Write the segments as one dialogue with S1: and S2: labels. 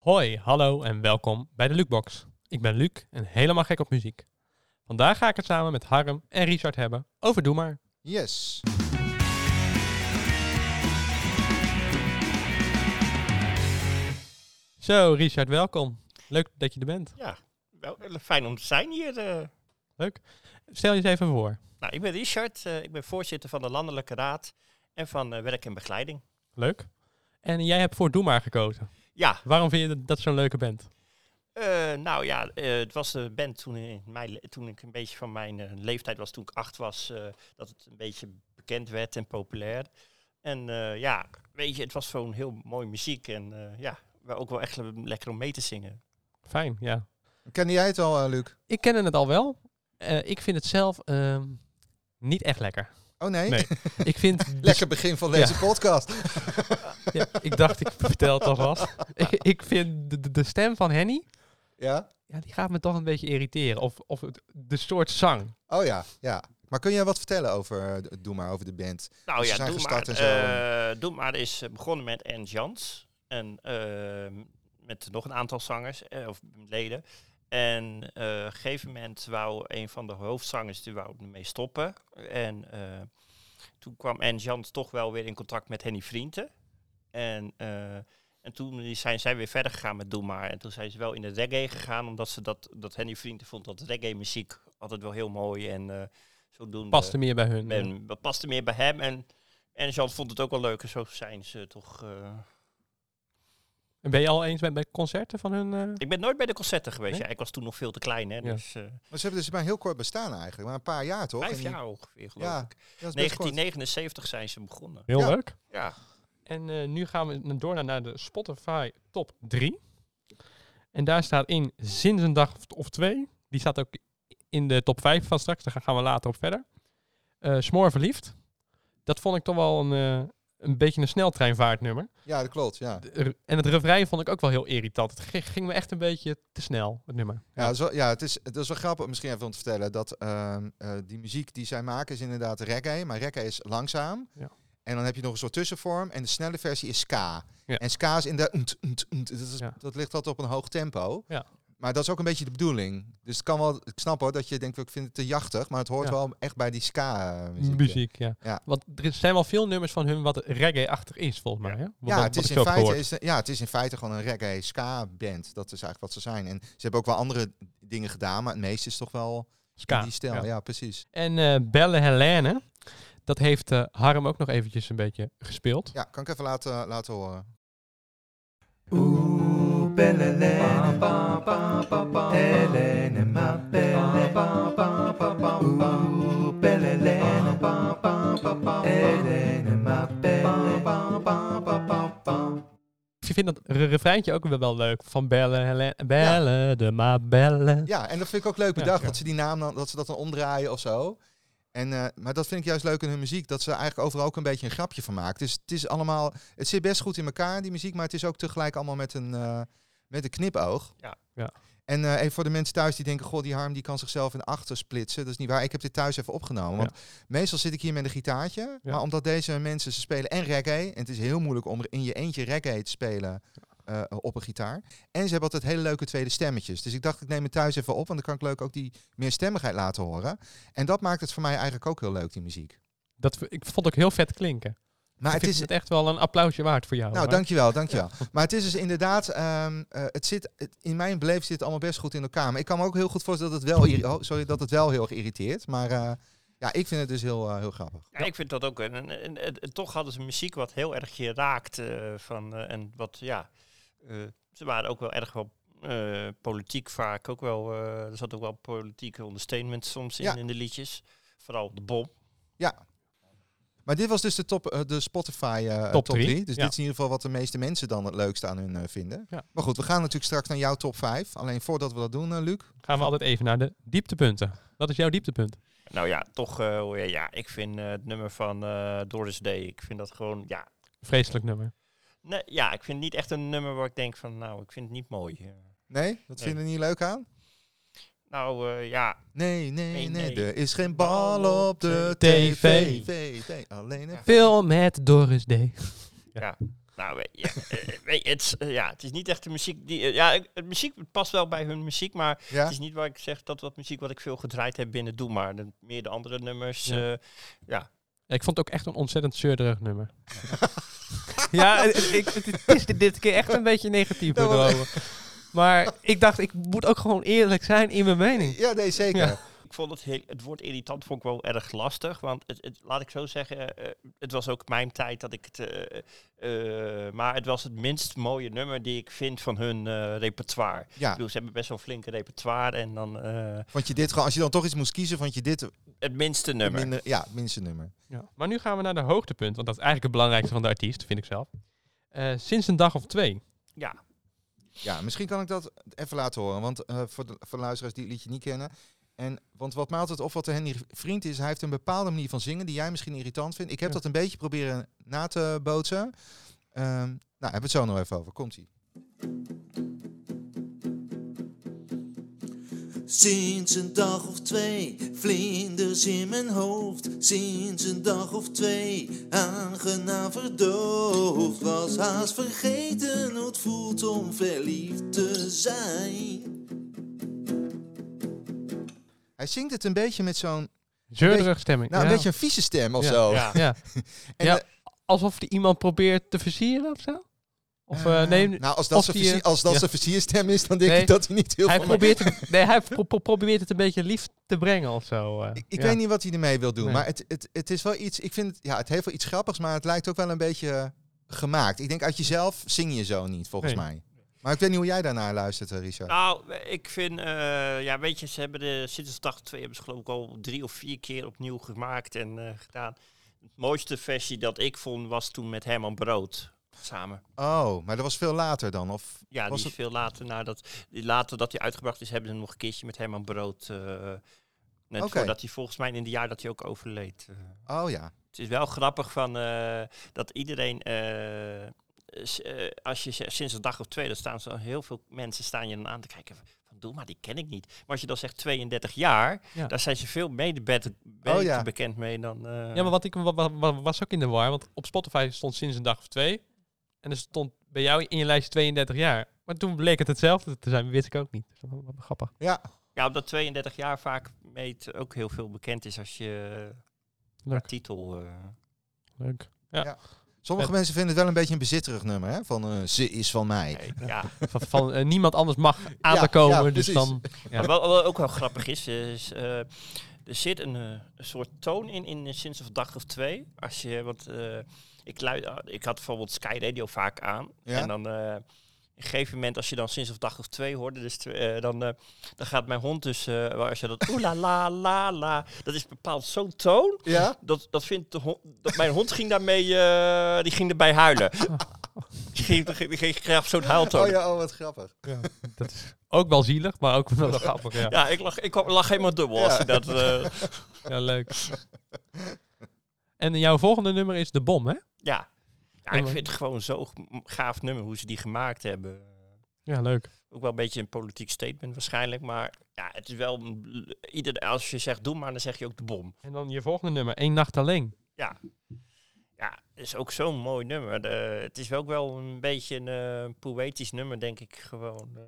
S1: Hoi, hallo en welkom bij de Lukebox. Ik ben Luc en helemaal gek op muziek. Vandaag ga ik het samen met Harm en Richard hebben over Doe Maar.
S2: Yes.
S1: Zo Richard, welkom. Leuk dat je er bent.
S3: Ja, wel, eh, fijn om te zijn hier. eh.
S1: Stel je eens even voor.
S3: Nou, ik ben Richard, eh, ik ben voorzitter van de Landelijke Raad en van eh, Werk en Begeleiding.
S1: Leuk. En jij hebt voor Doe Maar gekozen.
S3: Ja,
S1: Waarom vind je dat- dat zo'n leuke band?
S3: eh, nou ja, eh, het was de band toen, in mijn, le- toen ik een beetje van mijn eh, leeftijd was, toen ik acht was, eh, dat het een beetje bekend werd en populair. En eh, ja, weet je, het was gewoon heel mooi muziek en eh, ja, we ook wel echt le- lekker om mee te zingen.
S1: Fijn, ja.
S2: Kende jij het al, eh, Luc?
S1: Ik kende het al wel. Eh, ik vind het zelf ehm, niet echt lekker.
S2: Oh nee?
S1: Nee. Ik vind...
S2: Lekker begin van deze podcast.
S1: Ja, ik dacht, ik vertel het alvast. ik, ik vind de- de, de stem van Henny...
S2: Ja?
S1: ja, die gaat me toch een beetje irriteren. Of, of het, de soort zang.
S2: Oh ja, ja. Maar kun jij wat vertellen over, eh, d- doe maar, over de band?
S3: Nou
S2: Dus ze
S3: ja,
S2: zijn
S3: Doe
S2: gestart
S3: maar,
S2: en zo.
S3: eh, Doe maar is eh, begonnen met Ernst Jans. En ehm, met nog een aantal zangers eh, of leden. En eh, op een gegeven moment wou een van de hoofdzangers die wou ermee stoppen. En eh, toen kwam Ernst Jans toch wel weer in contact met Henny Vrienden. En, eh, en toen zijn zij weer verder gegaan met Doe maar. En toen zijn ze wel in de reggae gegaan, omdat ze dat, dat Henny Vrienden vond dat reggae muziek altijd wel heel mooi. En eh zodoende
S1: Past er meer bij hun. eh.
S3: ben, dat paste meer bij hem. En, en Jean vond het ook wel leuk. En zo zijn ze toch... eh.
S1: En ben je al eens bij, bij concerten van hun? eh?
S3: Ik ben nooit bij de concerten geweest.
S1: Nee?
S3: Ja, ik was toen nog veel te klein. Hè, dus, eh
S2: Maar ze hebben dus maar heel kort bestaan eigenlijk, maar een paar jaar toch?
S3: vijf
S2: En die-
S3: jaar ongeveer, geloof
S2: Ja,
S3: ik.
S2: dat is best kort.
S3: 1979 zijn ze begonnen.
S1: Heel
S2: Ja.
S1: leuk.
S3: Ja.
S1: En eh, nu gaan we n- door naar- naar de Spotify top 3. En daar staat in Sinds een dag of twee. Die staat ook in de top 5 van straks. Daar gaan we later op verder. Eh Smoor verliefd. Dat vond ik toch wel een, eh, een beetje een sneltreinvaartnummer.
S2: Ja, dat klopt, ja.
S1: De- er- En het refrein vond ik ook wel heel irritant. Het ging- ging me echt een beetje te snel, het nummer.
S2: Ja, dat is wel, ja het, is, het is wel grappig misschien even om te vertellen dat ehm, eh, die muziek die zij maken is inderdaad reggae, maar reggae is langzaam.
S1: Ja.
S2: En dan heb je nog een soort tussenvorm en de snelle versie is ska.
S1: Ja.
S2: En ska is inderdaad, unt, unt, unt. dat, is,
S1: Ja.
S2: dat ligt altijd op een hoog tempo.
S1: Ja.
S2: Maar dat is ook een beetje de bedoeling. Dus het kan wel, ik snap hoor dat je denkt, ik vind het te jachtig, maar het hoort
S1: Ja.
S2: wel echt bij die ska eh, muziek.
S1: Muziek, ja.
S2: Ja.
S1: Want er zijn wel veel nummers van hun wat reggae-achtig is, volgens mij. Hè? Wat-
S2: Ja,
S1: wat-
S2: het
S1: wat
S2: is,
S1: ik
S2: in
S1: zo heb
S2: feite,
S1: gehoord.
S2: is, ja, het is in feite gewoon een reggae ska band. Dat is eigenlijk wat ze zijn. En ze hebben ook wel andere dingen gedaan, maar het meeste is toch wel
S1: Ska,
S2: in die stijl.
S1: ja.
S2: Ja, precies.
S1: En eh, Belle Helene, dat heeft eh, Harm ook nog eventjes een beetje gespeeld.
S2: Ja, kan ik even laten, laten horen.
S4: Ooh, bellele, Helene, ma belle. Ooh, bellele, Helene, ma belle.
S1: Ik vind dat re- refreintje ook wel- wel leuk. Van Belle Helene, Belle de ma Belle.
S2: Ja, en dat vind ik ook leuk bedacht.
S1: ja.
S2: Dat ze die naam dan, dat ze dat dan omdraaien of zo. En, eh, maar dat vind ik juist leuk in hun muziek. Dat ze eigenlijk overal ook een beetje een grapje van maakt. Dus het is allemaal, het zit best goed in elkaar, die muziek. Maar het is ook tegelijk allemaal met een, eh, met een knipoog.
S3: Ja.
S1: Ja.
S2: En eh, even voor de mensen thuis die denken, goh, die Harm die kan zichzelf in achter splitsen. Dat is niet waar. Ik heb dit thuis even opgenomen. Want meestal zit ik hier met een gitaartje.
S1: Ja.
S2: Maar omdat deze mensen, ze spelen en reggae. En het is heel moeilijk om in je eentje reggae te spelen eh, op een gitaar. En ze hebben altijd hele leuke tweede stemmetjes. Dus ik dacht, ik neem het thuis even op, want dan kan ik leuk ook die meerstemmigheid laten horen. En dat maakt het voor mij eigenlijk ook heel leuk, die muziek.
S1: Dat v- ik vond ook heel vet klinken.
S2: Maar
S1: ik
S2: het
S1: vind
S2: is.
S1: het echt wel een applausje waard voor jou.
S2: Nou,
S1: Harm.
S2: dankjewel, dankjewel. Maar het is dus inderdaad, ehm, eh, het zit, het- in mijn beleef zit het allemaal best goed in elkaar. Maar ik kan me ook heel goed voorstellen dat het wel, irri- oh, sorry, dat het wel heel erg irriteert. Maar eh, ja, ik vind het dus heel, eh, heel grappig.
S3: Ja, ik vind dat ook. En, en, en- en- en toch hadden ze muziek wat heel erg je raakt. eh, van, eh, en wat, ja, eh, ze waren ook wel erg wel eh, politiek vaak. Ook wel, eh, er zat ook wel politieke understatement soms in,
S2: Ja.
S3: in de liedjes. Vooral de bom.
S2: Maar dit was dus de, top, eh, de Spotify eh,
S1: Top
S2: top
S1: drie,
S2: 3. Dus
S1: ja.
S2: dit is in ieder geval wat de meeste mensen dan het leukste aan hun eh, vinden.
S1: Ja.
S2: Maar goed, we gaan natuurlijk straks naar jouw top 5. Alleen voordat we dat doen, eh, Luc.
S1: Gaan we altijd even naar de dieptepunten. Wat is jouw dieptepunt?
S3: Nou ja, toch, eh, hoe- ja, ik vind eh, het nummer van eh, Doris Day, ik vind dat gewoon, ja,
S1: Vreselijk nummer.
S3: nee, ja, ik vind het niet echt een nummer waar ik denk van, nou, ik vind het niet mooi. Eh,
S2: Nee, dat
S3: Nee.
S2: vinden we niet leuk aan?
S3: Nou eh, ja,
S2: Nee, nee, nee,
S3: Nee, nee.
S2: er is geen bal op de tv.
S1: TV.
S2: TV. Alleen een
S1: Film met Doris D.
S3: ja. Nou, we- ja, eh, weet je, het, is- eh, ja, het is niet echt de muziek die... eh, ja, ik- het muziek past wel bij hun muziek, maar
S2: Ja?
S3: het is niet waar ik zeg dat wat muziek wat ik veel gedraaid heb binnen doe. Maar de, meer de andere nummers...
S1: Ja.
S3: eh, ja.
S1: Ik vond het ook echt een ontzettend zeurderig nummer. ja, het, het- ik- het- het is dit keer echt een beetje negatief
S2: Ja, want-
S1: bedrogen. Maar ik dacht, ik moet ook gewoon eerlijk zijn in mijn mening.
S2: ja, nee, zeker.
S1: Ja.
S3: Ik vond het, heel, het woord irritant vond ik wel erg lastig. Want het, het- laat ik zo zeggen, eh, het was ook mijn tijd dat ik het... eh, eh, maar het was het minst mooie nummer die ik vind van hun eh, repertoire. Ik
S2: Ja,
S3: bedoel, ze hebben best wel een flinke repertoire. En dan eh,
S2: vond je dit gewoon, als je dan toch iets moest kiezen, vond je dit het
S3: het minste nummer.
S2: minder, ja, het minste nummer.
S1: Ja. Maar nu gaan we naar de hoogtepunt, want dat is eigenlijk het belangrijkste van de artiest, vind ik zelf. Eh, sinds een dag of twee.
S3: Ja,
S2: Ja, misschien kan ik dat even laten horen, want eh, voor, de, voor de luisteraars die het liedje niet kennen. En, want wat mij altijd opvalt aan Henry Vriend is, hij heeft een bepaalde manier van zingen die jij misschien irritant vindt. Ik heb
S1: Ja.
S2: dat een beetje proberen na te bootsen. Ehm, nou, hebben we het zo nog even over. Komt-ie.
S5: Sinds een dag of twee, vlinders in mijn hoofd. Sinds een dag of twee, aangenaam verdoofd. Was haast vergeten hoe het voelt om verliefd te zijn.
S2: Hij zingt het een beetje met zo'n,
S1: Zeurderig stemming.
S2: nou,
S1: ja.
S2: een beetje een vieze stem of
S1: Ja.
S2: zo.
S3: ja.
S1: Ja.
S2: En eh,
S1: ja,
S2: de-
S1: alsof er iemand probeert te versieren of zo? Of eh,
S2: Eh,
S1: nee,
S2: nou, als
S1: als
S2: dat, zijn,
S1: die, eh,
S2: versier, als dat
S1: ja.
S2: zijn versierstem is, dan denk
S1: Nee,
S2: ik dat hij niet heel
S1: hij
S2: veel... maakt.
S1: probeert, het, nee, hij pro- pro- probeert het een beetje lief te brengen of zo. eh.
S2: Ik, ik
S1: Ja.
S2: weet niet wat hij ermee wil doen,
S1: Nee.
S2: maar het, het, het is wel iets... Ik vind het, ja, het heeft wel iets grappigs, maar het lijkt ook wel een beetje eh, gemaakt. Ik denk, uit jezelf zing je zo niet, volgens
S1: Nee.
S2: mij. Maar ik weet niet hoe jij daarnaar luistert, eh, Richard.
S3: Nou, ik vind, eh, ja, weet je, ze hebben de sinds 82 hebben ze geloof ik al drie of vier keer opnieuw gemaakt en eh, gedaan. Het mooiste versie dat ik vond was toen met Herman Brood samen.
S2: Oh, maar dat was veel later dan, of... Was
S3: Ja, die is
S2: het-
S3: veel later nadat, die later dat hij uitgebracht is, hebben ze hem nog een keertje met Herman Brood. eh net
S2: Oké.
S3: voordat hij volgens mij in het jaar dat hij ook overleed. eh.
S2: Oh ja.
S3: Het is wel grappig van, eh, dat iedereen, eh, s- eh, als je z- sinds een dag of twee, dan staan zo heel veel mensen staan je dan aan te kijken. Van, doe maar, die ken ik niet. Maar als je dan zegt 32 jaar,
S1: Ja.
S3: daar zijn ze veel mede bet- beter
S2: Oh, ja.
S3: bekend mee dan... eh,
S1: Ja, maar wat ik wa- wa- wa- was ook in de war, want op Spotify stond sinds een dag of twee. En er stond bij jou in je lijst 32 jaar. Maar toen bleek het hetzelfde te zijn, wist ik ook niet. Dus wat- wat grappig.
S2: Ja,
S3: ja, omdat 32 jaar vaak meet ook heel veel bekend is als je
S1: Leuk.
S3: qua titel... eh,
S1: Leuk.
S2: sommige
S1: Het-
S2: mensen vinden het wel een beetje een bezitterig nummer, hè? Van, eh, ze is van mij.
S3: ja.
S1: Van, van, eh, niemand anders mag aan
S2: Ja,
S1: te komen,
S2: ja,
S1: dus
S2: precies.
S1: dan... Ja.
S3: Maar wat, wat ook wel grappig is, is eh, er zit een, eh, een soort toon in, in eh, sinds een dag of twee. Als je, want eh, ik, lui, ah, ik had bijvoorbeeld Sky Radio vaak aan.
S2: Ja?
S3: En dan eh, op een gegeven moment, als je dan sinds een dag of twee hoorde, dus, tw- eh, dan, eh, dan gaat mijn hond dus, eh, waar als je dat oeh la la la la, dat is bepaald zo'n toon.
S2: Ja?
S3: Dat, dat vindt de hond, dat mijn hond ging daarmee, eh, die ging erbij huilen. Die ging, die ging, die ging graag zo'n huiltoon.
S2: Oh ja, oh wat grappig.
S1: Dat is ook wel zielig, maar ook wel grappig. Ja,
S3: Ja, ik lag, ik lag helemaal dubbel als je dat... eh,
S1: ja leuk. En jouw volgende nummer is De Bom, hè?
S3: Ja. ja
S1: En
S3: ik
S1: wat-
S3: vind het gewoon zo'n g- m- gaaf nummer hoe ze die gemaakt hebben.
S1: Ja, leuk.
S3: Ook wel een beetje een politiek statement waarschijnlijk, maar ja, het is wel een bl- ieder als je zegt doe maar, dan zeg je ook de bom.
S1: En dan je volgende nummer, Eén Nacht Alleen.
S3: Ja, het is ook zo'n mooi nummer. De- het is ook wel een beetje een eh, poëtisch nummer, denk ik gewoon. eh.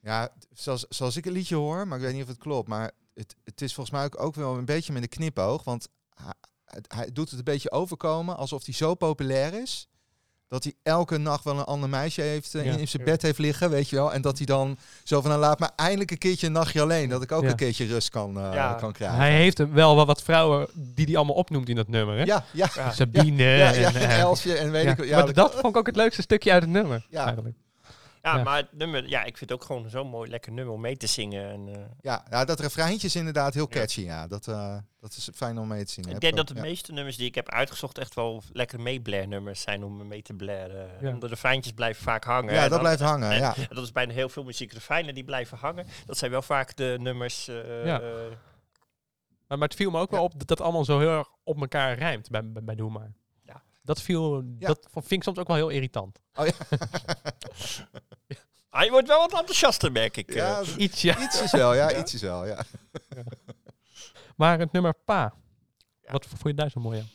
S2: Ja, t- zoals, zoals ik het liedje hoor, maar ik weet niet of het klopt. Maar het, het is volgens mij ook, ook wel een beetje met een knipoog. Want hij, het- hij doet het een beetje overkomen alsof hij zo populair is. Dat hij elke nacht wel een ander meisje heeft eh,
S1: Ja.
S2: in, in zijn bed heeft liggen, weet je wel. En dat hij dan zo van, nou laat maar eindelijk een keertje een nachtje alleen. Dat ik ook
S1: Ja.
S2: een keertje rust kan, eh,
S3: Ja.
S2: kan krijgen.
S1: Hij heeft wel wel wat vrouwen die hij allemaal opnoemt in dat nummer, hè?
S2: Ja, ja, ja.
S1: Sabine
S2: Ja,
S1: en...
S2: en
S1: eh,
S2: Elsje en weet
S1: ja.
S2: ik wel. Ja,
S1: maar dat vond ik ook het leukste stukje uit het nummer,
S2: Ja.
S1: eigenlijk.
S3: Ja,
S1: Ja.
S3: maar het nummer, ja, ik vind het ook gewoon zo'n mooi lekker nummer om mee te zingen. En, eh,
S2: ja, ja, dat refreintje is inderdaad heel
S3: Ja.
S2: catchy. Ja. Dat, eh, dat is fijn om mee te zien.
S3: ik denk dat de meeste nummers die ik heb uitgezocht echt wel lekker meeblair nummers zijn om mee te blaren.
S1: Ja.
S3: Omdat de fijntjes blijven vaak hangen.
S2: Ja,
S3: En
S2: dat
S3: dan-
S2: blijft hangen,
S3: en-
S2: ja.
S3: En dat is bijna heel veel muziekrefijnen die blijven hangen. Dat zijn wel vaak de nummers. eh,
S1: Ja.
S3: eh,
S1: Maar, maar het viel me ook wel op dat dat allemaal zo heel erg op elkaar rijmt bij, bij, bij Doe Maar.
S3: Ja.
S1: Dat, viel,
S2: Ja.
S1: dat vond- vind ik soms ook wel heel irritant.
S2: Oh,
S3: ah, je wordt wel wat enthousiaster, merk ik. eh.
S2: ja. ja,
S1: Iets, ja.
S2: Iets is wel, ja, iets is wel, ja.
S1: Maar het nummer Pa,
S3: Ja.
S1: wat v- vond je daar zo mooi aan?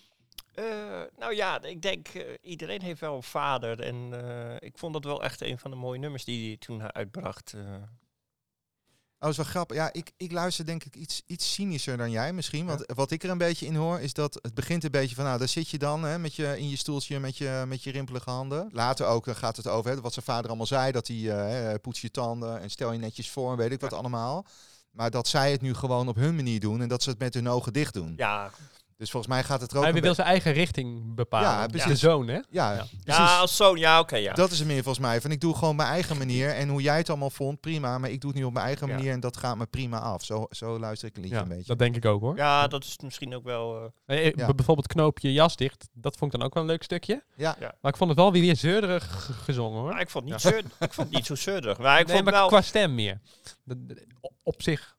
S3: Eh, nou Nou ja, ik denk, eh, iedereen heeft wel een vader. En eh, ik vond dat wel echt een van de mooie nummers die hij toen uitbracht. eh.
S2: Oh, dat is wel grappig. Ja, ik, ik luister denk ik iets, iets cynischer dan jij misschien. Want wat ik er een beetje in hoor, is dat het begint een beetje van... Nou, daar zit je dan hè, met je, in je stoeltje met je, met je rimpelige handen. Later ook eh, gaat het over hè, wat zijn vader allemaal zei. Dat hij eh, eh, poets je tanden en stel je netjes voor en weet ik wat allemaal. Maar dat zij het nu gewoon op hun manier doen. En dat ze het met hun ogen dicht doen.
S3: ja,
S2: Dus volgens mij gaat het er ook
S1: Hij
S2: een
S1: wil
S2: be-
S1: zijn eigen richting bepalen.
S2: Ja, precies.
S1: De zoon, hè?
S2: Ja,
S1: Ja.
S2: precies.
S3: ja, als zoon, ja, oké, ja.
S2: Dat is het meer volgens mij. Van ik doe gewoon mijn eigen manier. En hoe jij het allemaal vond, prima. Maar ik doe het nu op mijn eigen
S3: Ja.
S2: manier. En dat gaat me prima af. Zo, zo luister ik een liedje
S1: Ja,
S2: een beetje.
S1: dat denk ik ook, hoor.
S3: Ja, dat is misschien ook wel... eh,
S1: Eh, eh,
S2: Ja.
S1: b- Bijvoorbeeld knoop je jas dicht. Dat vond ik dan ook wel een leuk stukje.
S2: Ja.
S3: Ja.
S1: Maar ik vond het wel weer zeurderig g- gezongen, hoor.
S3: maar ik vond het niet, zeurd- ik vond het niet zo zeurderig. Maar ik
S1: nee,
S3: vond
S1: maar
S3: wel...
S1: qua stem meer. De- de- o- op zich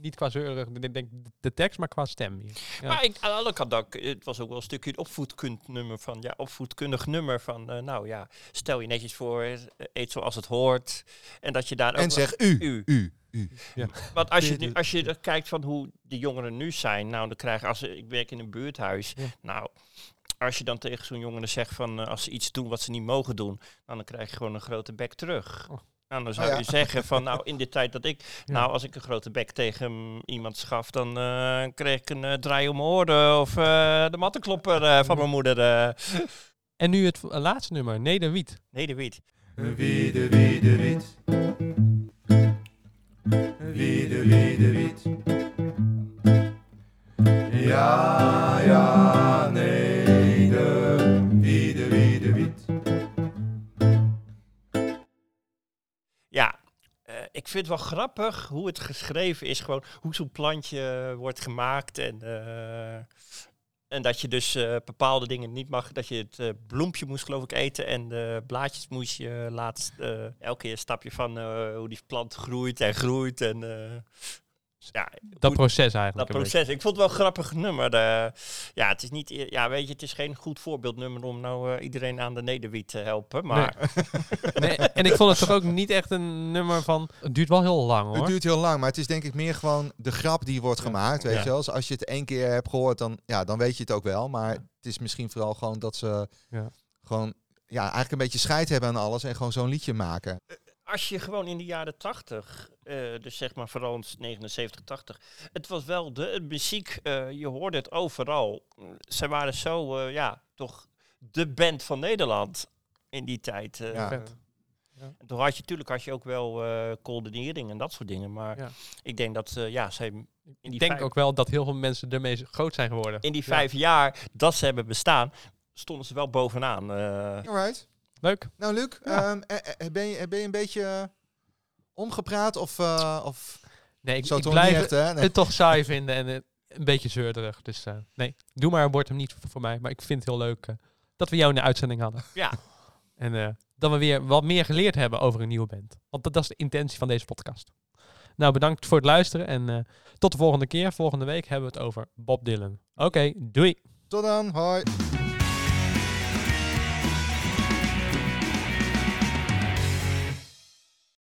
S1: niet qua zeurig, ik denk de tekst, maar qua stem meer. Ja.
S3: Maar ik, aan de andere kant, ook, het was ook wel een stukje een opvoedkundnummer van, ja, opvoedkundig nummer van, eh, nou ja, stel je netjes voor, eh, eet zoals het hoort. En dat je daar ook...
S2: En zeg u,
S3: u.
S2: u, u.
S3: Want als je, nu, als je er kijkt van hoe de jongeren nu zijn, nou dan krijgen als ze- ik werk in een buurthuis,
S1: Ja.
S3: nou als je dan tegen zo'n jongeren zegt van eh, als ze iets doen wat ze niet mogen doen, nou, dan krijg je gewoon een grote bek terug.
S1: Oh.
S3: Nou, dan zou
S2: Oh ja.
S3: je zeggen van nou in de tijd dat ik,
S1: Ja.
S3: nou als ik een grote bek tegen iemand schaf, dan eh, kreeg ik een eh, draai om mijn oren of eh, de mattenklopper eh,
S1: Mm.
S3: van mijn moeder. eh.
S1: En nu het v- laatste nummer, Nederwiet.
S3: Nee, dat weet.
S4: Wie de wie de wit. Wie de wie de wit. Ja, ja, nee, de wie de wie de wit.
S3: Ja, eh, ik vind het wel grappig hoe het geschreven is. Gewoon hoe zo'n plantje eh, wordt gemaakt. En, eh, en dat je dus eh, bepaalde dingen niet mag. Dat je het eh, bloempje moest geloof ik eten. En de blaadjes moest je laatst eh, elke keer een stapje van eh, hoe die plant groeit en groeit. En eh, ja,
S1: Dat
S3: Hoe-
S1: proces eigenlijk.
S3: dat
S1: een beetje.
S3: proces. Ik vond het wel een grappig nummer. eh. ja, het is niet, e- ja, weet je, het is geen goed voorbeeldnummer om nou eh, iedereen aan de nederwiet te helpen. Maar
S1: Nee, en ik vond het toch ook niet echt een nummer van... Het duurt wel heel lang, hoor.
S2: Het duurt heel lang, maar het is denk ik meer gewoon de grap die wordt gemaakt. Weet
S3: Ja.
S2: je wel? Dus als je het één keer hebt gehoord, dan, ja, dan weet je het ook wel. Maar het is misschien vooral gewoon dat ze
S1: Ja.
S2: gewoon ja, eigenlijk een beetje scheid hebben aan alles en gewoon zo'n liedje maken.
S3: als je gewoon in de jaren 80, eh, dus zeg maar vooral in 79, 80, het was wel de de muziek, eh, je hoorde het overal. Mm, Ze waren zo, eh, ja, toch de band van Nederland in die tijd. eh.
S2: Ja.
S1: Vet.
S3: En Toen had je natuurlijk had je ook wel eh coördinering en dat soort dingen, maar
S1: Ja.
S3: ik denk dat, eh, ja, ze hebben in die,
S1: Ik denk
S3: vijf,
S1: ook wel dat heel veel mensen ermee groot zijn geworden.
S3: in die vijf jaar dat ze hebben bestaan, stonden ze wel bovenaan. eh.
S2: Alright.
S1: Leuk.
S2: Nou, Luc,
S1: Ja.
S2: ehm, eh, eh, ben, je, ben je een beetje eh, omgepraat of, eh of
S1: Nee, ik,
S2: zo
S1: ik
S2: toch
S1: blijf
S2: niet echt, hè? Nee.
S1: het toch saai vinden en eh, een beetje zeurderig. Dus eh, nee, doe maar, wordt hem niet v- voor mij. Maar ik vind het heel leuk eh, dat we jou in de uitzending hadden.
S3: Ja.
S1: En eh, dat we weer wat meer geleerd hebben over een nieuwe band. Want dat, dat is de intentie van deze podcast. Nou, bedankt voor het luisteren en eh, tot de volgende keer. Volgende week hebben we het over Bob Dylan. Oké, doei.
S2: Tot dan, hoi.